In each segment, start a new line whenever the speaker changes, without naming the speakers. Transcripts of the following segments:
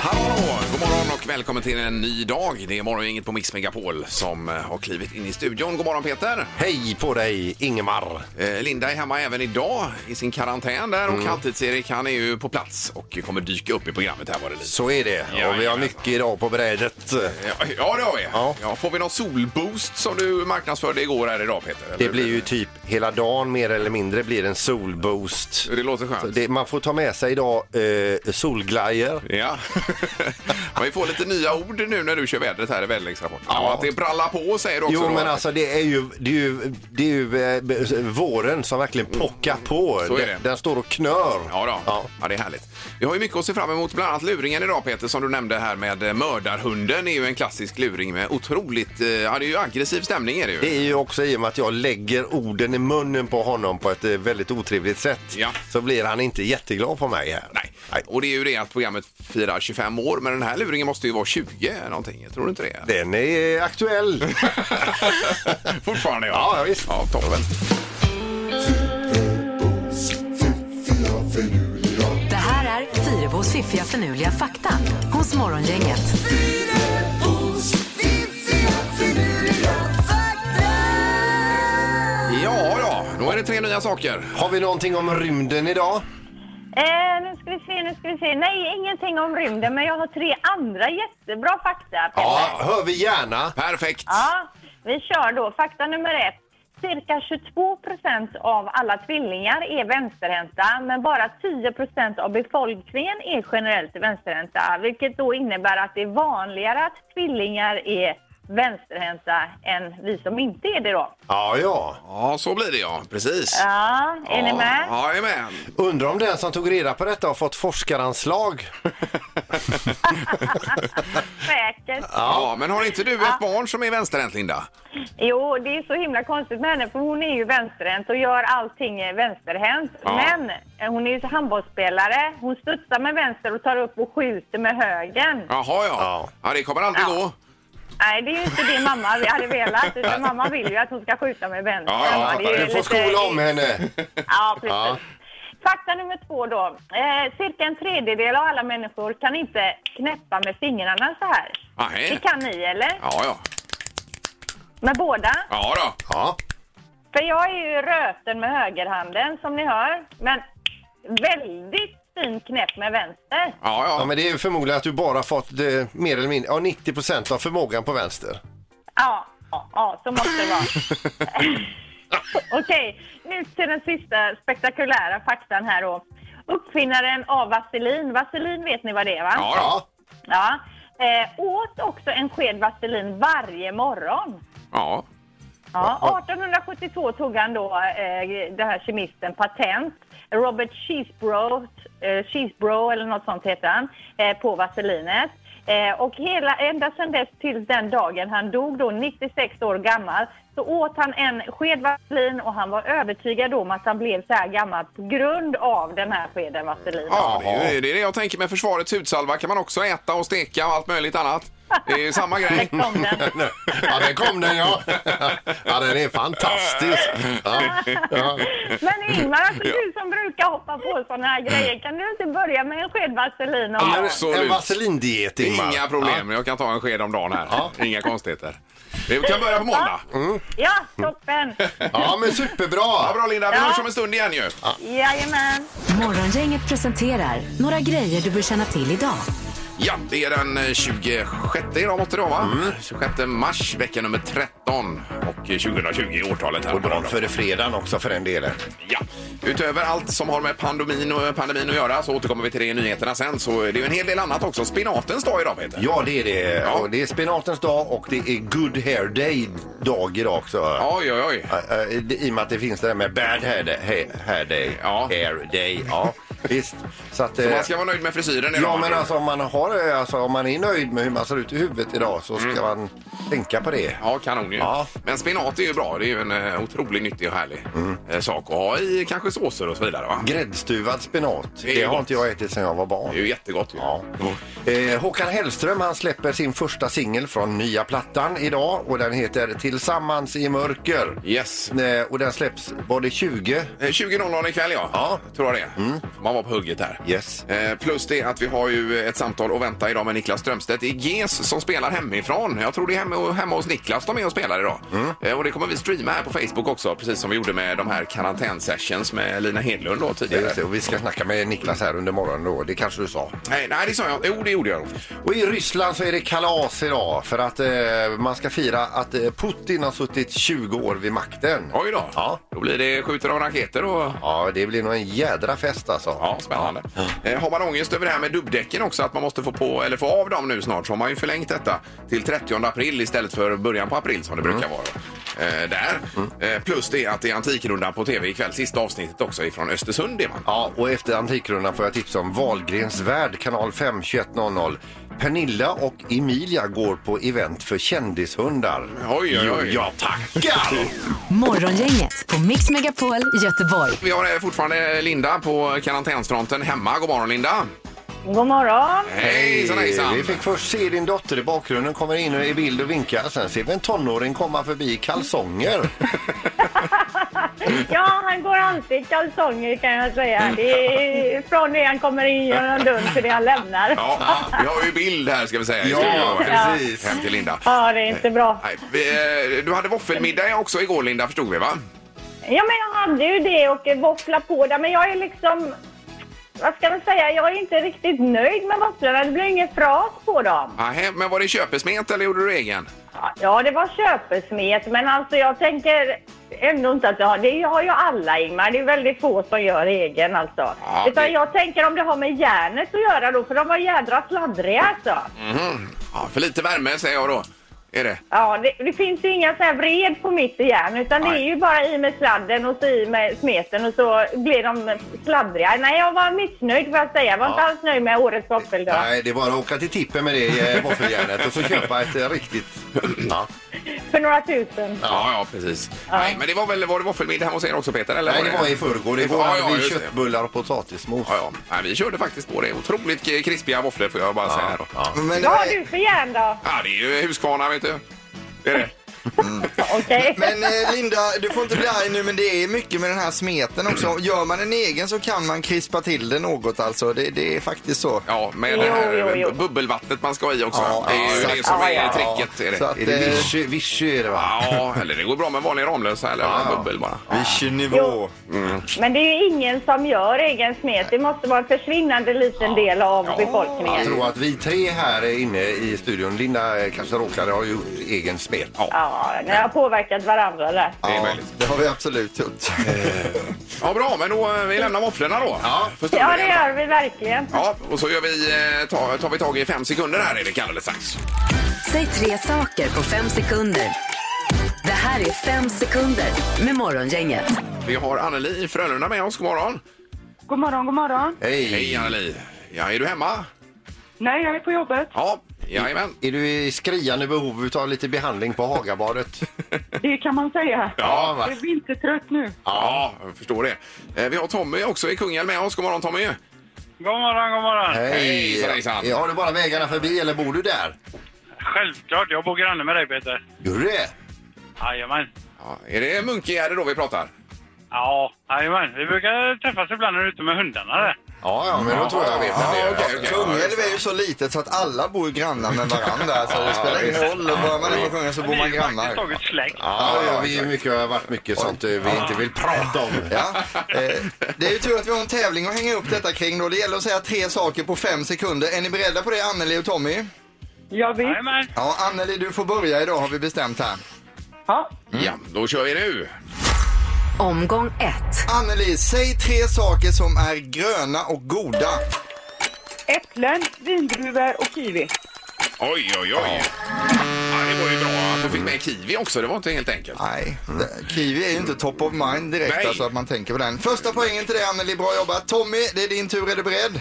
hallå, hallå! God morgon och välkommen till en ny dag. Det är morgongänget på Mix Megapol som eh, har klivit in i studion. God morgon Peter!
Hej på dig Ingemar!
Eh, Linda är hemma även idag i sin karantän där
Mm.
och Halvtids-Erik han är ju på plats och kommer dyka upp i programmet här var det lite.
Så är det. och vi har
Jajamensan.
mycket idag på brädet.
Ja, ja, det har vi. Ja.
Ja.
får vi någon solboost som du marknadsförde igår här idag Peter?
Det
Eller-
blir ju typ hela dagen mer eller mindre blir en solboost.
Det låter
Så
skönt.
Det, man får ta med sig idag eh, solglajjor.
Ja, men vi får lite nya ord nu när du kör vädret här i väderleksrapporten. Ja.
Ja.
Att det brallar på säger du också.
Jo
då.
men alltså det är ju, det är ju, det är ju eh, b- våren som verkligen pockar på.
Mm. Så är det.
Den, den står och knör.
Ja, då. Ja.
Ja.
det är härligt. Vi har ju mycket att se fram emot, bland annat luringen idag Peter som du nämnde här med eh, mördarhunden är ju en klassisk luring med otroligt, eh, ja det är ju aggressiv stämning är det ju.
Det är ju också i och med att jag lägger orden i munnen på honom på ett eh, väldigt otrevligt sätt.
Ja.
Så blir han inte jätteglad på mig här.
Nej. och det är ju det att programmet firar 25 år men den här luringen måste ju vara 20 någonting, jag tror du inte det?
Den är aktuell.
Fortfarande
Ja, visst.
Ja, toppen.
Det här är Fyrebos fiffiga förnuliga fakta hos Morgongänget.
Ja, ja, då är det tre nya saker.
Har vi någonting om rymden idag?
Eh, nu ska vi se, nu ska vi se. Nej, ingenting om rymden, men jag har tre andra jättebra fakta. Peter.
Ja, hör vi gärna.
Perfekt.
ja. Vi kör då. Fakta nummer ett. Cirka 22 procent av alla tvillingar är vänsterhänta, men bara 10 procent av befolkningen är generellt vänsterhänta, vilket då innebär att det är vanligare att tvillingar är vänsterhänta än vi som inte är det då.
Ja, ja.
Ja, så blir det ja, precis.
Ja, är ni
Ja,
med?
Ja, jag är med.
Undrar om den som tog reda på detta har fått forskaranslag?
Säkert.
Ja, men har inte du ett barn som är vänsterhänt, Linda?
Jo, det är så himla konstigt med henne för hon är ju vänsterhänt och gör allting eh, vänsterhänt.
Ja.
Men eh, hon är ju så handbollsspelare. Hon studsar med vänster och tar upp och skjuter med högern.
Jaha, ja. ja.
Ja.
det kommer aldrig
Ja.
gå.
Nej, det är ju inte det mamma vi hade velat. Utan mamma vill ju att hon ska skjuta med vänster.
Ja, ja,
Va, det är
du
Du får
lite-
skola om henne.
Eh, Ja, precis.
Ja.
Fakta nummer två då. Eh, cirka en tredjedel av alla människor kan inte knäppa med fingrarna så här.
Nej.
Det kan ni, eller?
Ja, ja.
Med båda?
Ja då.
Ja.
För jag är ju röten med högerhanden som ni hör, men väldigt fin knäpp med vänster.
Ja,
ja,
ja.
men det är ju förmodligen att du bara fått eh, mer eller mindre, ja 90 procent av förmågan på vänster.
Ja, ja, ja så måste det vara. Okej, nu till den sista spektakulära faktan här då. Uppfinnaren av vaselin. Vaselin vet ni vad det är va?
Ja, ja.
Ja.
Ja. Eh, åt också en sked vaselin varje morgon.
ja.
Ja, 1872 tog han då, eh, den här kemisten, patent. Robert Cheesebro, eh, Cheesebro eller något sånt heter han, eh, på vaselinet. Eh, och hela, ända sedan dess till den dagen han dog då, 96 år gammal, så åt han en sked vaselin och han var övertygad om att han blev så här gammal på grund av den här skeden vaselin.
Ja, det är ju- det är det jag tänker med försvarets hudsalva. Kan man också äta och steka och allt möjligt annat? Det är ju samma grej.
Liksom den.
Ja, där kom den ja. Ja, den är fantastisk. Ja. Ja.
Men Ingmar, alltså, du som brukar hoppa på sådana här grejer, kan du inte börja med en sked vaselin? och-
Ja, Absolut.
En vaselindiet, Ingmar.
Inga problem. Jag kan ta en sked om dagen här.
Ja.
Inga konstigheter. Vi kan börja på måndag.
Ja, toppen!
Ja, ja men
Ja,
superbra.
bra Linda, vi
Ja.
hörs om en stund igen ju.
Jajamän!
Morgongänget presenterar några grejer du bör känna till idag.
Ja, det är den eh, 26 idag måste det vara va?
Mm.
26 mars, vecka nummer 13 och eh, 2020 är årtalet här.
Och dagen före fredagen också för den delen.
Ja. Utöver allt som har med pandemin, och eh, pandemin att göra så återkommer vi till det i nyheterna sen. Så är det ju en hel del annat också. Spinatens dag idag Peter.
Ja, det är det.
Ja.
Och det är spinatens dag och det är good hair day dag idag Äh, också.
Oj, oj, oj.
Ä- ä, det- I och med att det finns det där med bad hair day. Hair, hair day.
Ja.
Hair day. Ja. Visst. Så att,
Så
eh,
man ska vara nöjd med frisyren idag.
Ja men alltså om man, har, alltså om man är nöjd med hur man ser ut i huvudet idag så
Mm.
ska man tänka på det.
Ja, kanon ju.
Ja.
Men spenat är ju bra. Det är ju en eh, otroligt nyttig och härlig
Mm.
eh, sak att ha i kanske såser och så vidare. Va?
Gräddstuvad spenat,
Det är
det har
gott.
inte jag ätit sedan jag var barn.
Det är ju jättegott ju.
Ja. Eh, Håkan Hellström han släpper sin första singel från nya plattan idag och den heter Tillsammans i mörker.
Yes.
Eh, och den släpps, var det 20?
Eh, 20.00 ikväll ja.
Ja.
Tror jag det. Får Man var på hugget här.
Yes.
Eh, Plus det att vi har ju ett samtal att vänta idag med Niklas Strömstedt. Det är GES som spelar hemifrån. Jag tror det är hemma, hemma hos Niklas de är och spelar idag.
Mm.
Eh, Och det kommer vi streama här på Facebook också, precis som vi gjorde med de här karantänsessions med Lina Hedlund då
Ja,
tidigare.
Just det, och vi ska snacka med Niklas här under morgonen då, det kanske du sa.
Nej, nej, det sa jag Jo, det gjorde jag nog.
Och i Ryssland så är det kalas idag för att eh, man ska fira att eh, Putin har suttit 20 år vid makten.
Oj då.
Ja.
Då blir det skjuter av raketer och...
Ja, det blir nog en jädra fest alltså.
Ja, spännande. Eh, har man ångest över det här med dubbdäcken också, att man måste få på eller få av dem nu snart, så har man ju förlängt detta till 30 april istället för början på april som det
Mm.
brukar vara. Eh, där. Eh, plus det att det är Antikrundan på tv ikväll, sista avsnittet också ifrån Östersund är man.
Ja, och efter Antikrundan får jag tips om Wahlgrens värld, kanal 5, 21.00. Pernilla och Emilia går på event för kändishundar.
Oj, oj, oj.
Jo, Ja, tackar!
Morgongänget på Mix Megapol Göteborg.
Vi har eh, fortfarande Linda på karantänsfronten hemma. God morgon Linda!
God morgon!
Hejsan hejsan!
Vi fick först se din dotter i bakgrunden, kommer in i bild och vinkar. Sen ser vi en tonåring komma förbi i kalsonger.
Ja, han går alltid i kalsonger kan jag säga. Det är från det han kommer in genom dörren till det han lämnar.
Ja, vi har ju bild här ska vi säga. i studion.
precis.
Hem till Linda.
Ja, det är inte bra.
Nej, vi, eh, du hade våffelmiddag också igår Linda, förstod vi va?
Ja, men jag hade ju det och eh, våffla på där. Men jag är liksom... Vad ska man säga? Jag är inte riktigt nöjd med våfflorna. Det blir ingen fras på dem.
Aha, men var det köpesmet eller gjorde du egen?
Ja, det var köpesmet. Men alltså jag tänker ändå inte att jag har... Det har ju alla, Ingmar. Det är väldigt få som gör egen alltså.
Ja,
Utan
det-
jag tänker om det har med järnet att göra då. För de var jädra sladdriga alltså.
Mhm. Ja, för lite värme säger jag då. Är det?
Ja, det, det finns ju inga så här vred på mitt igen utan det
Nej.
är ju bara i med sladden och så i med smeten och så blir de sladdriga. Nej, jag var missnöjd får jag säga. Jag var inte alls nöjd med årets våffeldag.
Nej, det är bara att åka till tippen med det eh, våffeljärnet och så köpa ett eh, riktigt... Ja.
För några tusen.
Ja, ja, precis. Nej, men det var väl var det våffelmiddag hemma hos er också Peter? Eller
Nej,
var
det var i förrgår. Igår
Ja,
hade
ja,
vi
just det.
köttbullar och potatismos.
Ja, ja. Nej, vi körde faktiskt på det. Otroligt k- krispiga våfflor får jag bara säga här då. Ja.
Men,
Vad har du för järn då?
det är ju Huskvarna vet du. Det är det.
Okej.
Men eh, Linda, du får inte bli arg nu men det är mycket med den här smeten också. Gör man en egen så kan man krispa till det något alltså. Det, det är faktiskt så.
Ja, med
Jo,
det här
jo, jo.
bubbelvattnet man ska ha i också.
Ja,
det är ju
exakt.
det som
Ja,
är
ja, ja.
tricket. Är
Så
det.
att-
Är det vichy, vichy är det va?
Ja, eller det går bra med vanlig Ramlösa eller
ja.
bubbel bara.
Vichy-nivå.
Mm.
Men det är ju ingen som gör egen smet. Det måste vara en försvinnande liten del av
Ja.
Jag
befolkningen.
tror att vi tre här inne i studion, Linda eh, kanske råkade ha gjort egen smet.
Ja, ni har påverkat varandra där.
Det är
Ja,
möjligt.
det har vi absolut gjort.
Eh, Ja, bra, men då eh, vi lämnar våfflorna då. Ja, för stunden
Ja,
i
det
alla fall.
gör vi verkligen.
Ja, och så gör vi, eh, ta, tar vi tag i fem sekunder här Erik alldeles strax.
Säg tre saker på fem sekunder. Det här är fem sekunder med Morgongänget.
Vi har Anneli i Frölunda med oss. God morgon.
God morgon, god morgon.
Hej!
Hej Anneli. Ja, är du hemma?
Nej, jag är på jobbet.
Ja, jajamän.
Är du i skriande behov av lite behandling på Hagabadet?
Det kan man säga.
Ja,
Jag är vintertrött nu.
Ja, jag förstår det. Eh, Vi har Tommy också i Kungälv med oss. God morgon Tommy.
God morgon, god morgon.
Hejsan, hejsan.
Ja, Har du bara vägarna förbi eller bor du där?
Självklart, jag bor granne med dig Peter.
Gör du det?
Jajamän.
Ja, är det Munkegärde då vi pratar?
Ja, jajamän. Vi brukar träffas ibland när du är ute med hundarna där.
Ja, ja, men då tror jag jag vet vem det
Ja,
är.
okej, okej.
Kungälv är ju så litet så att alla bor ju grannar med varandra. Så det spelar ingen roll. Börjar man ifrån Kungälv så bor man
Ni är faktiskt
grannar.
taget släkt.
Ja, ja, vi är mycket, har varit mycket sånt eh, vi inte vill prata om.
Ja, eh, det är ju tur att vi har en tävling att hänga upp detta kring då. Det gäller att säga tre saker på fem sekunder. Är ni beredda på det, Anneli och Tommy?
Jag vet.
Jajamän.
Ja, Anneli, du får börja idag har vi bestämt här.
Ja.
Mm.
Ja, då kör vi nu.
Omgång ett.
Anneli, säg tre saker som är gröna och goda.
Äpplen, vindruvor och kiwi.
Oj, oj, oj. Ja. det var ju bra att du fick med kiwi också, det var inte helt enkelt. Mm.
Nej, det- kiwi är ju inte top of mind direkt
Nej.
alltså att man tänker på den. Första poängen till dig Anneli, bra jobbat. Tommy, det är din tur, är du beredd?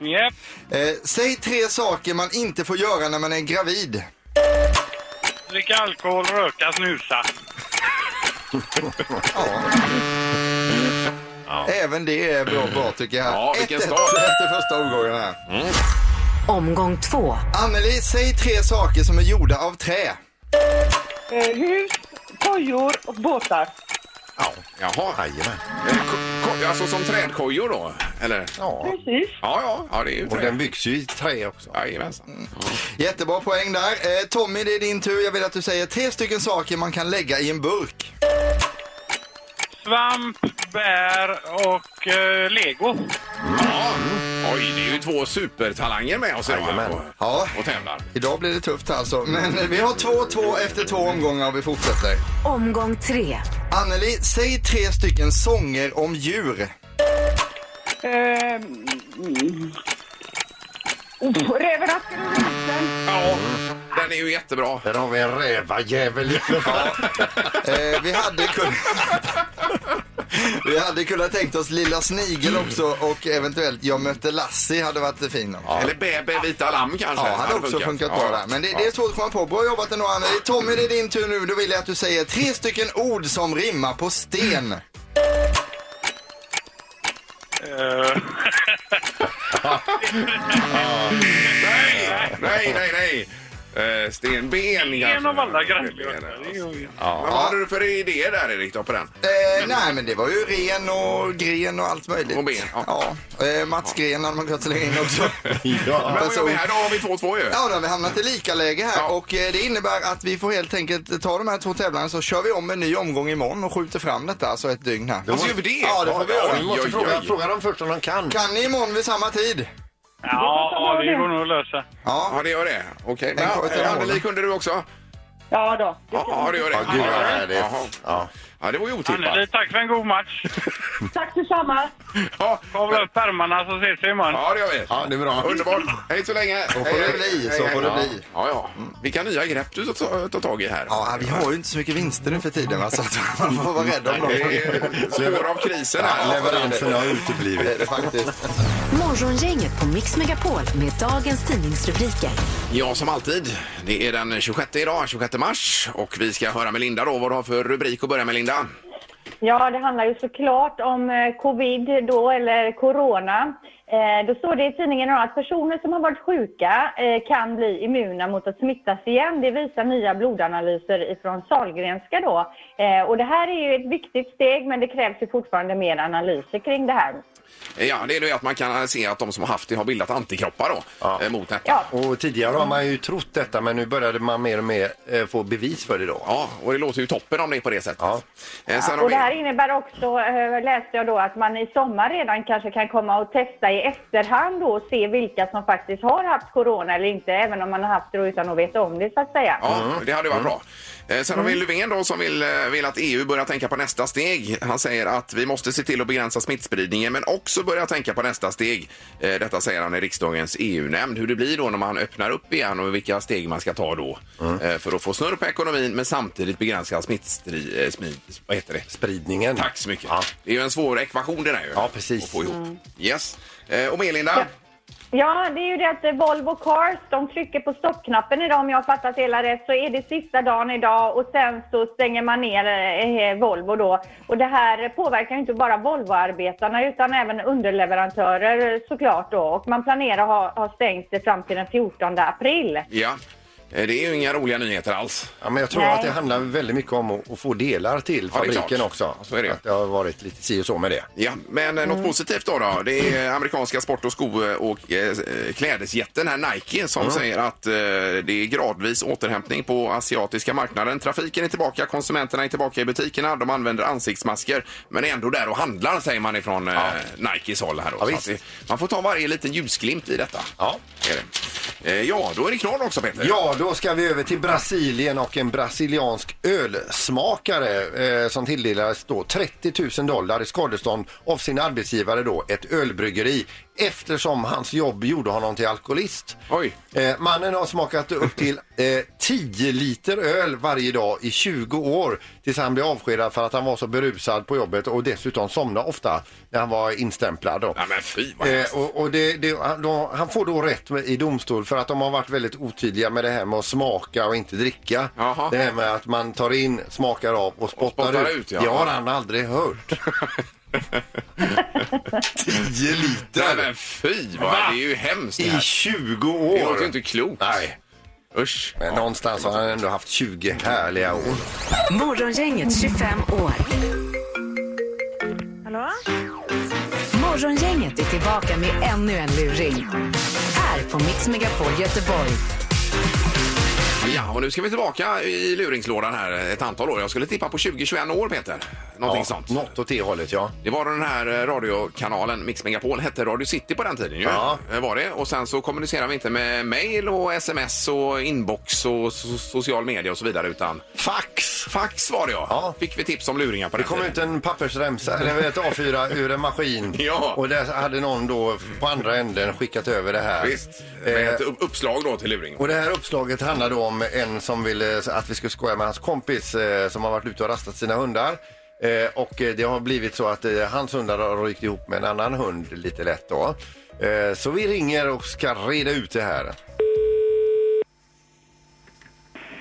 Japp.
Eh, säg tre saker man inte får göra när man är gravid.
Dricka alkohol, röka, snusa.
Även det är bra, bra tycker jag.
Ja, vilken
1-1
start.
efter första omgången här.
Omgång två.
Anneli, säg tre saker som är gjorda av trä.
Eh, hus, kojor och båtar.
Ja. Jaha.
Jajamän.
Eh, ko- ko- Alltså som trädkojor då? Eller? Ja,
Ja.
Precis.
ja, ja det är ju
Och den
trä.
byggs ju i trä också.
Jajamensan.
Jättebra poäng där. Eh, Tommy, det är din tur. Jag vill att du säger tre stycken saker man kan lägga i en burk.
Svamp, bär och eh, lego.
Ja. Oj, det är ju två supertalanger med oss idag
Jajamän.
och,
Ja.
och tävlar.
Idag blir det tufft alltså. Men eh, vi har 2-2 efter två omgångar och vi fortsätter.
Omgång tre.
Anneli, säg tre stycken sånger om djur.
Eh, mm. oh, räven, asken och risen.
Ja, den är ju jättebra.
Där har vi en rävajävel i alla fall.
Eh, vi, hade kun... vi hade kunnat tänkt oss Lilla Snigel också och eventuellt Jag mötte Lassie hade varit fin. också.
Eller bä, bä, vita lamm kanske.
Ja, hade också funkat bra där. Men det, det är svårt att komma på. Bra jobbat ändå Anneli. Tommy, det är din tur nu. Då vill jag att du säger tre stycken ord som rimmar på sten.
Eh,
Nej, nej, nej, nej. Eh, stenben
en
kanske.
av alla
Stenben,
grejer.
ja.
Det är ju-
Ja. Vad hade du för idéer där Erik då på den?
Eh, nej, men det var ju ren och gren och allt möjligt.
Och ben, ja.
Ja. Eh, Mats Gren hade man kunnat slänga in också.
Ja.
Men vad gör vi här? Då har vi 2-2 ju.
alltså- Ja, då har vi hamnat i lika läge här
Ja.
och eh, det innebär att vi får helt enkelt ta de här två tävlarna så kör vi om en ny omgång imorgon och skjuter fram detta, alltså ett dygn här.
Alltså gör vi det?
Ja, det får vi göra.
Vi måste
Oj,
fråga,
oj, oj.
fråga dem först om de kan.
Kan ni imorgon vid samma tid?
Ja, det går nog att lösa.
Ja.
Ja, det gör det. Okej.
En kvar till
Okay.
den
Anneli,
målen.
kunde du också?
Ja då.
Ja, ja, det gör det.
Ja, gud vad härligt.
Jaha.
Ja.
Ja, det var ju otippat.
Anneli, tack för en god match.
Tack detsamma.
Ja,
Kavla upp ärmarna så ses vi imorgon.
ja, det gör vi.
ja, det är bra.
Underbart. Hej så länge.
Så får det bli, så får det bli.
Ja, ja. Vilka nya grepp du tar tar tag i här.
Ja, vi har ju inte så mycket vinster nu för tiden va, så att man får vara rädd om dem.
Det är spår av krisen
Ja,
här.
Leveranserna har
Det är
uteblivit.
det faktiskt.
Morgongänget på Mix Megapol med dagens tidningsrubriker.
Ja, som alltid. Det är den 26 idag, 26 mars. Och vi ska höra med Linda då vad du har för rubrik att börja med Linda.
Ja, det handlar ju såklart om eh, covid då, eller corona. Eh, då står det i tidningen idag att personer som har varit sjuka eh, kan bli immuna mot att smittas igen. Det visar nya blodanalyser ifrån Sahlgrenska då. Eh, och det här är ju ett viktigt steg, men det krävs ju fortfarande mer analyser kring det här.
Ja, det är det att man kan se att de som har haft det har bildat antikroppar då, eh, mot detta.
Ja.
Och tidigare har man ju trott detta men nu började man mer och mer eh, få bevis för det då.
Ja, och det låter ju toppen om det är på det sättet.
Ja.
Eh, sen har
Och
vi...
det här innebär också, eh, läste jag då, att man i sommar redan kanske kan komma och testa i efterhand då och se vilka som faktiskt har haft corona eller inte, även om man har haft det då utan att veta om det så att säga. Mm.
Ja,
Mm.
det hade varit bra. Eh, Sen har vi Löfven då som vill, eh, vill att EU börjar tänka på nästa steg. Han säger att vi måste se till att begränsa smittspridningen men också börja tänka på nästa steg. Eh, Detta säger han i riksdagens EU-nämnd. Hur det blir då när man öppnar upp igen och vilka steg man ska ta då
Mm.
eh, för att få snurr på ekonomin men samtidigt begränsa smittstri... eh, Smid... Vad heter det?
Spridningen.
Tack så mycket.
Ja.
Det är ju en svår ekvation det där ju.
Ja, precis.
Att få ihop. Yes. Eh, Och Melinda?
Ja, det är ju det att eh, Volvo Cars, de trycker på stoppknappen idag om jag har fattat det hela rätt, så är det sista dagen idag och sen så stänger man ner eh, Volvo då. Och det här påverkar ju inte bara Volvoarbetarna utan även underleverantörer eh, såklart då och man planerar att ha, ha stängt det fram till den 14 april.
Ja. Eh, Det är ju inga roliga nyheter alls.
Ja, men jag tror
Nej.
att det handlar väldigt mycket om att, att få delar till
Ja, det är
fabriken
klart.
också.
Så är det.
Att det har varit lite si och så med det.
Ja, men eh, något
Mm.
positivt då, då? Det är amerikanska sport och sko och eh, klädesjätten här Nike som
Mm.
säger att eh, det är gradvis återhämtning på asiatiska marknaden. Trafiken är tillbaka, konsumenterna är tillbaka i butikerna, de använder ansiktsmasker men är ändå där och handlar säger man ifrån eh, Nikes håll här då.
Ja,
Så
visst.
att det, man får ta varje liten ljusglimt i detta.
Ja.
Är det. Eh, ja, då är det knorr också Peter.
Ja, då ska vi över till Brasilien och en brasiliansk ölsmakare eh, som tilldelades då 30 000 dollar i skadestånd av sin arbetsgivare då, ett ölbryggeri eftersom hans jobb gjorde honom till alkoholist.
Oj.
Eh, mannen har smakat upp till eh, 10 liter öl varje dag i 20 år tills han blev avskedad för att han var så berusad på jobbet och dessutom somnade ofta när han var instämplad. Då.
Nej men fy vad hemskt.
Eh, och, och det, det, han, då, han får då rätt med, i domstol för att de har varit väldigt otydliga med det här med att smaka och inte dricka.
Jaha.
Det här med att man tar in, smakar av och spottar,
spottar
ut.
ut, ja.
Det har han aldrig hört. 10
Nej
liter
men fy vad,
Va?
det är ju hemskt det
i
här.
20
Det låter ju
år.
inte klokt.
Nej.
Usch.
Men någonstans har han ändå haft 20 härliga år.
Morgongänget 25 år.
Hallå?
Morgongänget är tillbaka med ännu en luring. Här på Mix Megapol Göteborg.
Ja, och nu ska vi tillbaka i luringslådan här ett antal år. Jag skulle tippa på 20-21 år Peter. Någonting sånt.
Något åt det hållet, ja.
Det var den här eh, radiokanalen Mix Megapol hette Radio City på den tiden ju.
Ja.
Eh, Var det. Och sen så kommunicerade vi inte med mail och sms och inbox och so social media och så vidare utan
Fax!
fax var det ja.
Ja.
Fick vi tips om luringar på
Det
den
kom
tiden.
ut en pappersremsa, eller ett A4 ur en maskin.
Ja.
Och där hade någon då på andra änden skickat över det här.
Visst, med
Eh,
ett upp- uppslag då till luring.
och det här uppslaget handlar då om en som ville att vi skulle skoja med hans kompis eh, som har varit ute och rastat sina hundar. Eh, och eh, det har blivit så att eh, hans hundar har rykt ihop med en annan hund lite lätt då. Eh, så vi ringer och ska reda ut det här.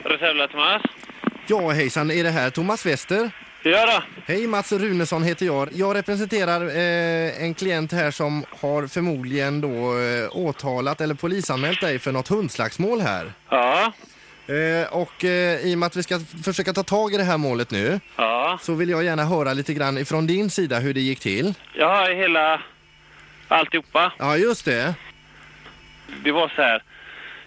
Reservla Thomas.
Ja, hejsan. Är det här Thomas Wester?
Ja då.
Hej, Mats Runesson heter jag. Jag representerar eh, en klient här som har förmodligen då eh, åtalat eller polisanmält dig för något hundslagsmål här.
Ja.
Eh, och eh, i och med att vi ska f- försöka ta tag i det här målet nu
Ja.
så vill jag gärna höra lite grann ifrån din sida hur det gick till.
Jag har hela alltihopa.
Ja, just det.
Det var så här.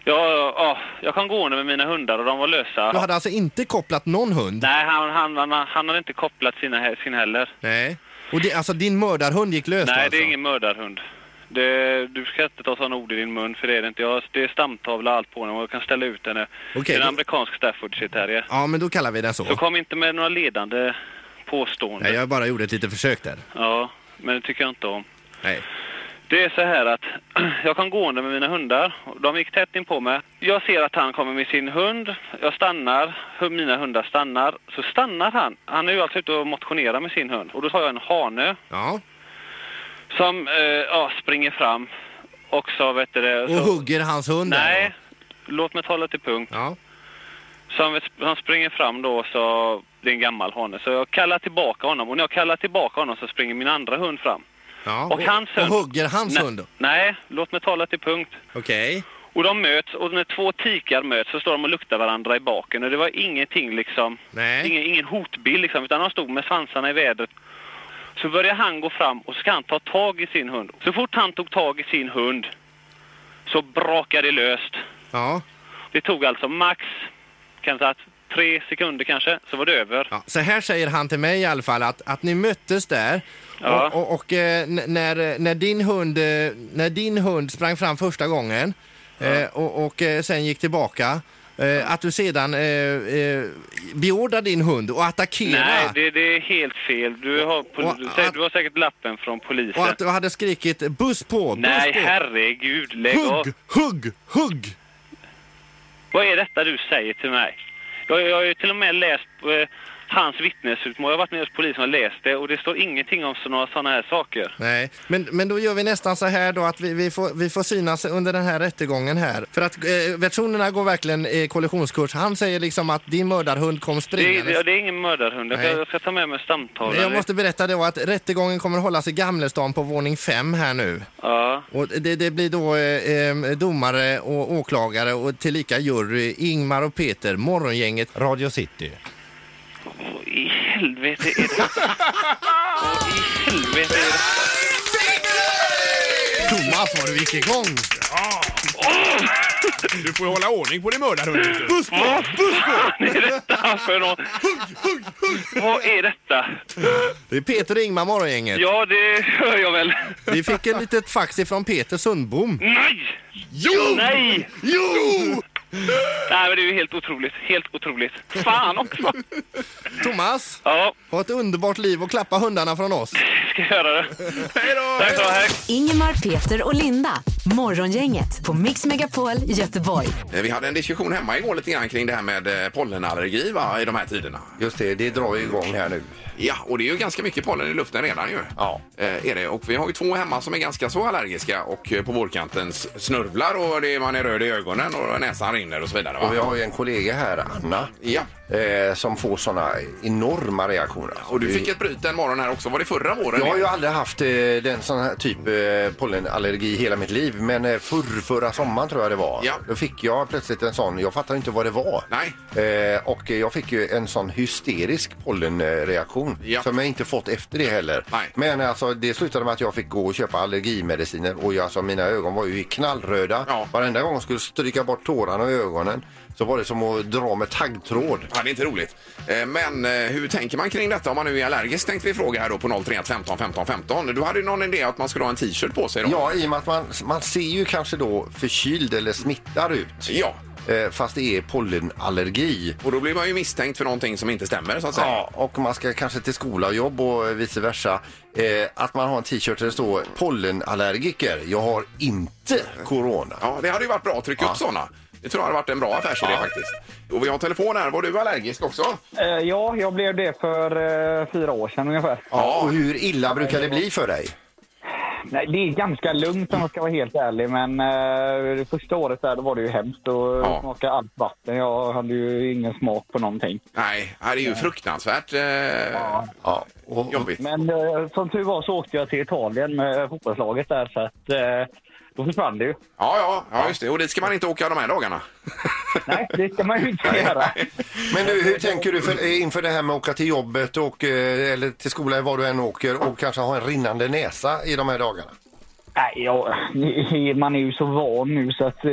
Jag, ja, jag kom gående med mina hundar och de var lösa.
Du hade alltså inte kopplat någon hund?
Nej, han, han, han, han hade inte kopplat sina, sin heller.
Nej. Och det, alltså din mördarhund gick löst
Nej,
alltså?
det är ingen mördarhund. Det, du ska inte ta sådana ord i din mun, för det är det inte. Jag, det är stamtavla allt på honom och jag kan ställa ut henne.
Okej,
det är en
då-
amerikansk Staffordshire terrier.
Ja, men då kallar vi den så.
Så kom inte med några ledande påståenden.
Nej, jag bara gjorde ett litet försök där.
Ja, men det tycker jag inte om.
Nej.
Det är så här att jag kom gående med mina hundar. De gick tätt in på mig. Jag ser att han kommer med sin hund. Jag stannar. Hu- Mina hundar stannar. Så stannar han. Han är ju alltså ute och motionerar med sin hund. Och då tar jag en hane
Ja.
som eh, ja, springer fram. Och så vet du det...
Och
så-
hugger hans hund där
Nej,
då?
låt mig tala till punkt.
Ja.
Så han, han springer fram då och så... Det är en gammal hane. Så jag kallar tillbaka honom. Och när jag kallar tillbaka honom så springer min andra hund fram.
ja.
Och hans hund.
Ah, Och hugger hans
Nej-
hund?
Nej, låt mig tala till punkt.
Okej.
Och de möts och när två tikar möts så står de och luktar varandra i baken och det var ingenting liksom,
Nej.
ingen, ingen hotbild liksom, utan de stod med svansarna i vädret. Så börjar han gå fram och ska han ta tag i sin hund. Så fort han tog tag i sin hund så brakade det löst.
Ja.
Det tog alltså max, kanske att tre sekunder kanske, så var det över.
ja. Så här säger han till mig i alla fall att, att ni möttes där
Ja.
och, och, och eh, n- när, när, din hund, eh, när din hund sprang fram första gången eh, och, och eh, sen gick tillbaka eh, att du sedan eh, eh, beordrade din hund och attackera
Nej, det, det är helt fel. Du har, pol-
Och
du, säger-
att-
du har säkert lappen från polisen.
och att du hade skrikit buss på, buss
Nej,
på.
herregud, lägg av.
Hugg, hugg, hugg!
Vad är detta du säger till mig? Jag, jag har ju till och med läst eh, hans vittnesutmål. Jag har varit med hos polisen och läst det och det står ingenting om så- några sådana här saker.
Nej, men, men då gör vi nästan så här då att vi, vi, får, vi får synas under den här rättegången här. För att eh, versionerna går verkligen i kollisionskurs. Han säger liksom att din mördarhund kom
Det, är-
springande.
det, det är ingen mördarhund. Jag, ska-
Nej.
jag ska ta med mig stamtavlan.
Men Jag måste berätta då att rättegången kommer att hållas i Gamlestan på våning 5 här nu.
Ja,
Och det, det blir då eh, eh, domare och åklagare och tillika jury Ingmar och Peter, Morgongänget, Radio City.
vad i helvete är det? Vad i helvete är det?
Thomas, vad du gick igång!
Du får ju hålla ordning på din mördarhund. vet du.
Vad fan är detta för något? Vad är detta?
Det är Peter och Ingmar, Morgongänget.
Ja, det hör jag väl.
Vi fick ett litet fax ifrån Peter Sundbom.
Nej! Jo! Nej! Jo! Nej, men det är ju helt otroligt. Helt otroligt. Fan också!
Thomas!
Ja,
Ha ett underbart liv och klappa hundarna från oss.
det ska göra det.
Hej då!
Tack så mycket. Hej.
Ingemar, Peter och Linda. Morgongänget på Mix Megapol Göteborg.
Eh, Vi hade en diskussion hemma igår lite grann kring det här med eh, pollenallergi va, i de här tiderna.
Just det, det drar ju igång här nu.
Ja, och det är ju ganska mycket pollen i luften redan ju.
Ja.
Eh, är det. Och vi har ju två hemma som är ganska så allergiska och eh, på vårkanten s- snörvlar och det, man är röd i ögonen och näsan rinner och så vidare.
Och vi
Va?
har ju en kollega här, Anna,
Ja.
eh, som får såna enorma reaktioner.
Och du fick ett bryt en morgon här också. Var det förra våren?
Jag har ju aldrig haft eh, den sån här typ eh, pollenallergi i hela mitt liv, men eh, förr, förra sommaren tror jag det var,
Ja.
då fick jag plötsligt en sån. Jag fattade inte vad det var.
Nej.
Eh, och jag fick ju en sån hysterisk pollenreaktion
Ja.
som jag inte fått efter det heller.
Nej.
Men alltså, det slutade med att jag fick gå och köpa allergimediciner och jag, alltså, mina ögon var ju knallröda.
Ja.
Varenda gång jag skulle stryka bort tårarna i ögonen så var det som att dra med taggtråd.
Ja, det är inte roligt. Eh, Men eh, hur tänker man kring detta om man nu är allergisk tänkte vi fråga här då på 031 15 15 15. Du hade ju någon idé att man skulle ha en t-shirt på sig då.
Ja, i och med att man, man ser ju kanske då förkyld eller smittar ut.
Ja.
Eh, fast det är pollenallergi.
Och då blir man ju misstänkt för någonting som inte stämmer så att säga.
Ja, och man ska kanske till skola och jobb och vice versa. Eh, att man har en t-shirt där det står pollenallergiker. Jag har inte corona.
Ja, det hade ju varit bra att trycka upp sådana. Det tror jag hade varit en bra affärsidé faktiskt. Och vi har telefon här. Var du allergisk också?
Eh, Ja, jag blev det för eh, fyra år sedan ungefär.
Ja, och hur illa brukar det bli för dig?
Nej, det är ganska lugnt om jag ska vara helt ärlig, men eh, det första året där då var det ju hemskt och
Ja.
smakade allt vatten. Jag hade ju ingen smak på någonting.
Nej, ja, det är ju fruktansvärt eh,
Ja, och,
jobbigt.
Men eh, som tur var så åkte jag till Italien med fotbollslaget där, så att eh, då försvann det ju.
Ja, ja, ja, just det. Och dit ska man inte åka de här dagarna.
Nej, det ska man ju inte göra.
men nu, hur tänker du för, eh, inför det här med att åka till jobbet och, eh, eller till skolan, var du än åker och kanske ha en rinnande näsa i de här dagarna?
Nej, ja, man är ju så van nu så att eh,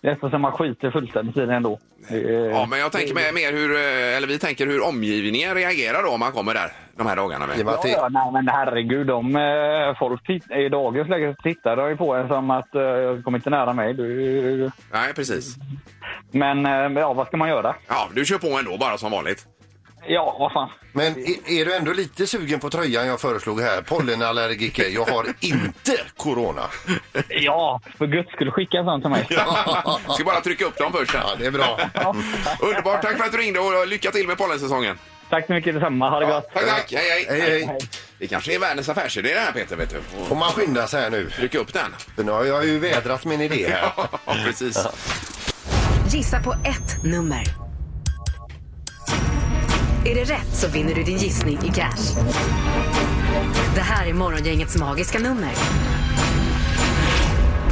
nästan som man skiter fullständigt i det ändå. Eh,
Ja, men jag tänker mer- mer hur, eh, eller vi tänker hur omgivningen reagerar då om man kommer där de här
I
dagarna.
och
Med.
med att det,
Ja, ja, nej men herregud, de, eh, folk titt- i dagens läge tittar ju på en som att eh, kom inte nära mig. Du,
Nej, precis.
men eh, ja, vad ska man göra?
Ja, du kör på ändå bara som vanligt.
Ja, vad fan.
men är, är du ändå lite sugen på tröjan jag föreslog här? Pollenallergiker, jag har inte corona.
Ja, för guds skull skicka en sån till mig.
Ska bara trycka upp dem först. här.
Ja, det är bra.
Underbart, tack för att du ringde och lycka till med pollensäsongen.
Tack så mycket detsamma. Ha det gott.
Tack, tack. Hej, hej.
Hej, hej.
Det kanske är världens affärsidé det här Peter, vet du. Och
Får man skynda sig här nu?
trycka upp den.
För nu har jag ju vädrat min idé här.
Ja, precis.
Gissa på ett nummer. Är det rätt så vinner du din gissning i cash. Det här är Morgongängets magiska nummer.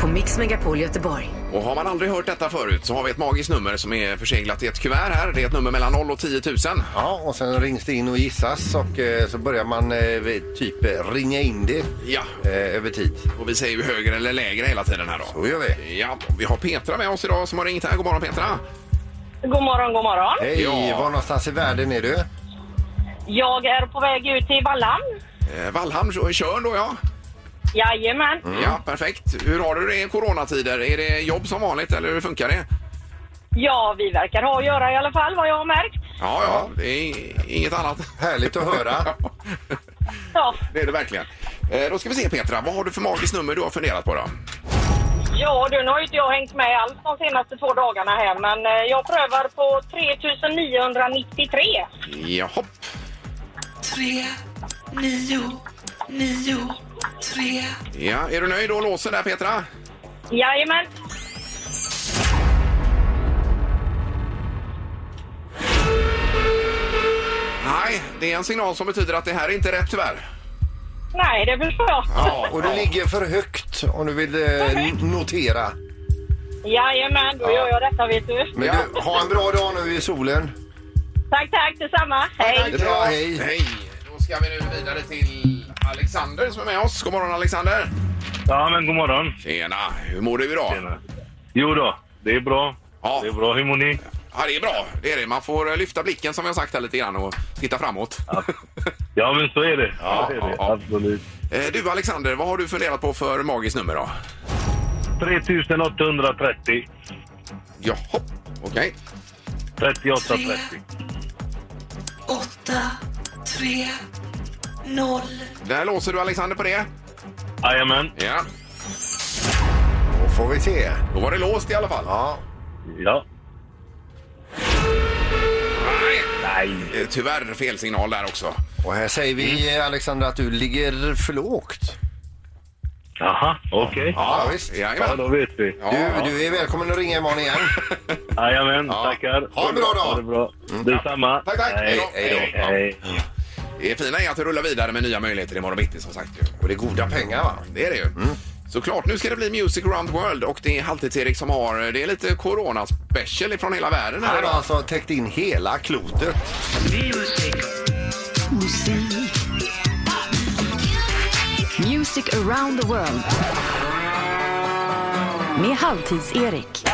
På Mix Megapol Göteborg.
Och har man aldrig hört detta förut så har vi ett magiskt nummer som är förseglat i ett kuvert här. Det är ett nummer mellan 0 och 10 000.
Ja, och sen rings det in och gissas och eh, så börjar man eh, vid- typ eh, ringa in det
Ja,
eh, över tid.
och vi säger ju högre eller lägre hela tiden här då.
Då gör vi.
Ja, och vi har Petra med oss idag som har ringt här. God morgon Petra!
God morgon, god morgon.
Hej,
Ja.
var någonstans i världen är du?
Jag är på väg ut till Vallhamn.
Eh, Vallhamn kö- Körn då ja.
Jajamän.
Mm.
Mm.
Ja, perfekt. Hur har du det i coronatider? Är det jobb som vanligt eller hur funkar det?
Ja, vi verkar ha att göra i alla fall, vad jag har märkt.
Ja, ja, det är inget annat.
Härligt att höra.
Ja,
Det är det verkligen. Eh, Då ska vi se Petra, vad har du för magiskt nummer du har funderat på då?
ja du, nu har ju inte jag hängt med alls de senaste två dagarna här, men eh, jag prövar på 3993.
Jaha. Ja, är du nöjd och låser där Petra?
Jajamän.
Nej, det är en signal som betyder att det här är inte rätt tyvärr.
Nej, det förstår jag.
Ja,
Och du ligger för högt om du vill eh, n- notera.
Jajamän, då gör jag detta vet du.
Men
Ja.
du, ha en bra dag nu i solen.
Tack, tack detsamma.
Det
Hej.
är bra, hej.
Hej! Då ska vi nu vidare till Alexander som är med oss. God morgon Alexander!
Ja, men god morgon.
Tjena! Hur mår du idag?
Jo då, det är bra.
Ja. Det är
bra. Hur mår ni?
Ja, det är bra. Det är det. Man får eh, lyfta blicken som jag sagt här lite grann och titta framåt.
Ja, men så är det. Alltså.
Ja, Så är det. ja, ja.
Absolut.
Eh, Du Alexander, vad har du funderat på för magiskt nummer då?
3830.
Jaha, okej.
3830.
noll.
Där låser du Alexander på det.
Jajamän.
Ja.
Då får vi se.
Då var det låst i alla fall.
Ja.
Ja.
Nej. Eh, Tyvärr fel signal där också.
Och här säger vi, Alexander, att du ligger för lågt.
Jaha, okej.
Ja, visst.
Jajamän.
Ja, då vet vi.
Du, du är välkommen att ringa imorgon igen.
Jajamän, tackar.
Ha en bra dag. Mm.
Ha det bra. Mm. Detsamma.
Tack, tack.
Hej,
Hej
hej, hej.
Det fina är att det rullar vidare med nya möjligheter imorgon bitti som sagt. ju.
Och det är goda pengar, va?
Det är det ju.
Mm.
Såklart, nu ska det bli Music around the world och det är Halvtids-Erik som har, det är lite corona-special från hela världen här
Han har
idag.
alltså täckt in hela klotet.
Music around the world. Med Halvtids-Erik.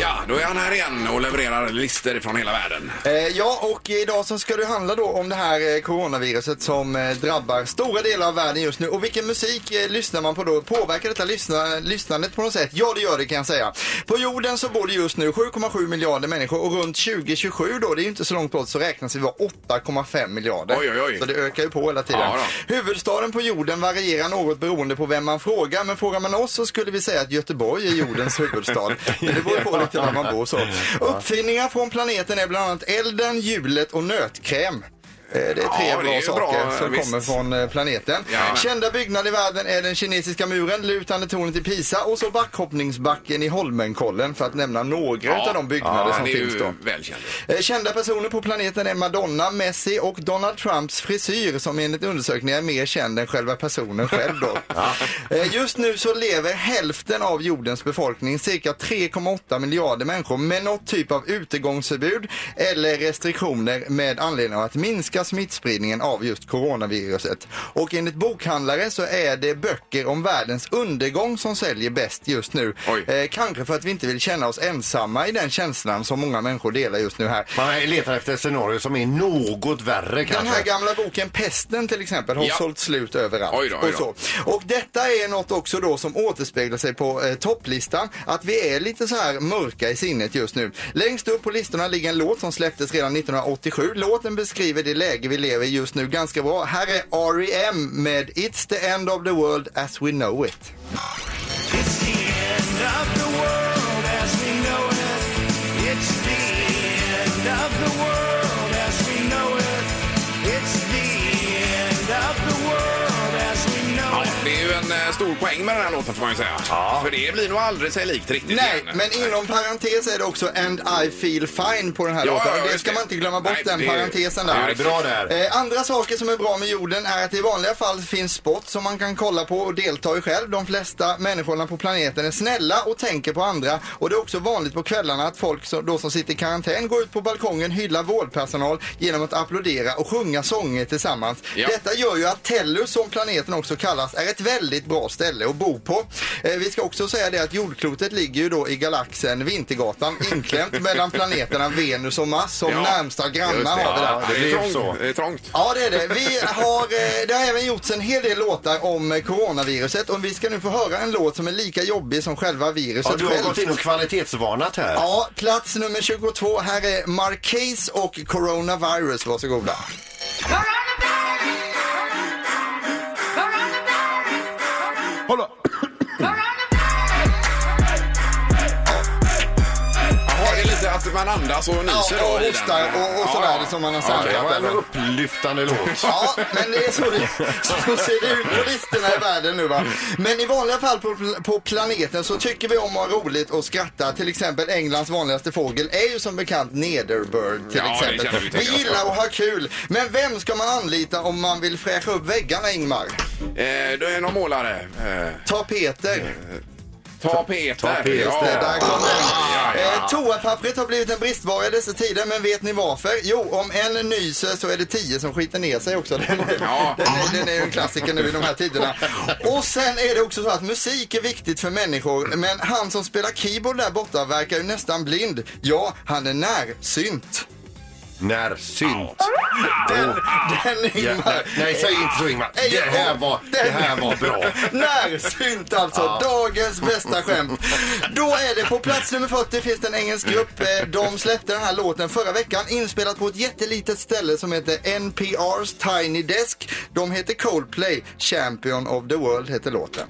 Ja, då är han här igen och levererar listor från hela världen.
Eh, ja, och idag så ska det handla då om det här eh, coronaviruset som eh, drabbar stora delar av världen just nu. Och vilken musik eh, lyssnar man på då? Påverkar detta lyssna, lyssnandet på något sätt? Ja, det gör det kan jag säga. På jorden så bor det just nu 7,7 miljarder människor och runt 2027 då, det är ju inte så långt bort, så räknas vi vara 8,5 miljarder.
Oj, oj, oj.
Så det ökar ju på hela tiden.
Ja,
Huvudstaden på jorden varierar något beroende på vem man frågar, men frågar man oss så skulle vi säga att Göteborg är jordens huvudstad. Men det beror ju på lite var man bor så. Uppfinningar från planeten är bland annat elden, hjulet och nötkräm. Eh, Det är tre
Ja, det
bra
är ju
saker
bra,
som
visst.
kommer från eh, planeten.
Jajamän.
Kända byggnader i världen är den kinesiska muren, lutande tornet i Pisa och så backhoppningsbacken i Holmenkollen för att nämna några utav de byggnader
ja,
som
det är
finns
ju
då.
välkänd.
Eh, Kända personer på planeten är Madonna, Messi och Donald Trumps frisyr som enligt undersökningar är mer känd än själva personen själv då. Eh, Just nu så lever hälften av jordens befolkning, cirka 3,8 miljarder människor, med något typ av utegångsförbud eller restriktioner med anledning av att minska smittspridningen av just coronaviruset. Och enligt bokhandlare så är det böcker om världens undergång som säljer bäst just nu.
Oj.
Eh, kanske för att vi inte vill känna oss ensamma i den känslan som många människor delar just nu här.
Man letar efter ett scenario som är något värre
Den här
kanske.
gamla boken Pesten till exempel har
Ja.
sålt slut överallt.
Oj då, oj då.
Och, så. och detta är något också då som återspeglar sig på eh, topplistan. Att vi är lite så här mörka i sinnet just nu. Längst upp på listorna ligger en låt som släpptes redan 1987. Låten beskriver det läge vi lever i just nu ganska bra. Här är R.E.M. med It's the end of the world as we know it.
Ja, det är ju en eh, stor poäng med den här låten får man ju säga. För det blir nog aldrig sig likt riktigt
Nej,
igen.
men inom parentes är det också And I feel fine på den här
Ja,
låten.
ja,
Och det
just
ska
det.
man inte glömma bort
Nej,
den
det är-
parentesen där.
det är
Det är bra där.
Eh, andra saker som är bra med jorden är att det i vanliga fall finns sport som man kan kolla på och delta i själv. De flesta människorna på planeten är snälla och tänker på andra. Och det är också vanligt på kvällarna att folk som, då som sitter i karantän går ut på balkongen, hyllar vårdpersonal genom att applådera och sjunga sånger tillsammans.
Ja.
Detta gör ju att Tellus, som planeten också kallas, är ett väldigt bra ställe att bo på. Eh, vi ska också säga det att jordklotet ligger ju då i galaxen Vintergatan inklämt mellan planeterna Venus och Mars som
Ja,
närmsta
just
grannar
det.
har vi där.
Ja, det,
Det
är
blev
trångt.
så.
Det är trångt.
Ja, det är det. Vi har, eh, det har även gjorts en hel del låtar om eh, coronaviruset och vi ska nu få höra en låt som är lika jobbig som själva viruset
Ja, du har
självt.
gått in och kvalitetsvarnat här.
Ja, plats nummer 22. Här är Marquez och Coronavirus. Varsågoda.
Jaha, det är lite att man andas och
Ja,
nyser
och
då i
hostar
den.
och, och
Ja,
sådär liksom.
ja.
som man har
Ja,
sagt.
okej.
Det var en upplyftande låt.
Ja, men det är så det så ser det ut på listorna i världen nu va. Men i vanliga fall på, på planeten så tycker vi om att ha roligt och skratta. Till exempel Englands vanligaste fågel är ju som bekant nederbird till
Ja, det känner
exempel.
vi till,
Vi
ja.
gillar att ha kul. Men vem ska man anlita om man vill fräscha upp väggarna Ingmar?
Eh, då är det någon målare. Eh,
Ta Peter.
ta Peter.
Ta Peter.
Ja.
Det där kom den.
Ja, ja.
Eh, toapappret har blivit en bristvara i dessa tider, men vet ni varför? Jo, om en nyser så är det tio som skiter ner sig också. Den, är-
Ja.
den, är- den är ju en klassiker nu i de här tiderna. Och sen är det också så att musik är viktigt för människor, men han som spelar keyboard där borta verkar ju nästan blind. Ja, han är närsynt.
Närsynt. Den,
den
Ingmar. nej, nej, säg inte så Ingmar.
Nej,
Det här var, det här var bra.
Närsynt alltså,
Ja.
dagens bästa skämt. Då är det på plats nummer 40 finns det en engelsk grupp.
Mm.
Eh, De släppte den här låten förra veckan inspelat på ett jättelitet ställe som heter NPR's Tiny Desk. De heter Coldplay, Champion of the World heter låten.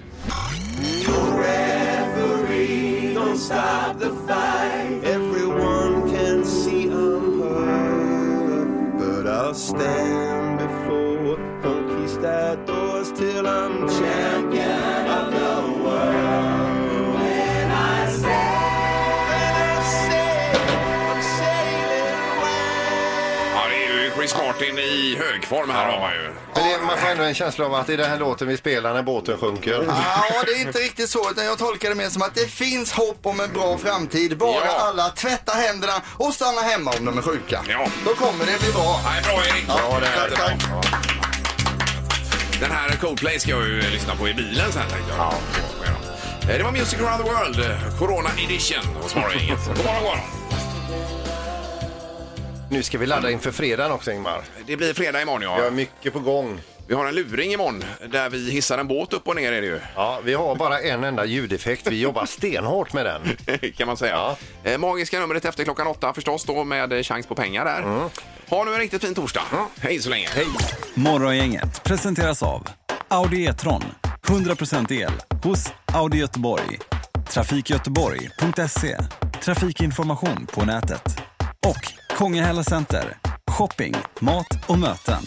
Don't stop the fight. Everyone can see I'm hurt, but I'll stand before conquistadors till I'm champion of the world. When I say, I'm sailing
Ja, det är ju Chris Martin i högform här har man ju.
Men det, man får ändå en känsla av att det är den här låten vi spelar när båten sjunker.
Ja, det är inte riktigt så utan jag tolkar det mer som att det finns hopp om en bra framtid. Bara alla tvätta händerna och stanna hemma om de är sjuka. Då kommer det bli bra.
Nej, bra Erik! Ja, det är bra. Den här Coldplay ska jag ju lyssna på i bilen sen tänkte jag. Eh, Det var Music around the world, eh, Corona edition hos Morgongänget. God morgon, god morgon.
Nu ska vi ladda inför fredagen också Ingmar.
Det blir fredag imorgon ja. Vi har
mycket på gång.
Vi har en luring imorgon där vi hissar en båt upp och ner är det ju.
Ja, vi har bara en enda ljudeffekt. Vi jobbar stenhårt med den.
kan man säga. Eh, Magiska numret efter klockan åtta förstås då med eh, chans på pengar där.
Mm.
Ha nu en riktigt fin torsdag. Hej så länge.
Morgongänget presenteras av Audi E-tron. 100% el hos Audi Göteborg. Trafikgöteborg.se. Trafikinformation på nätet. Och Kongahälla Center. Shopping, mat och möten.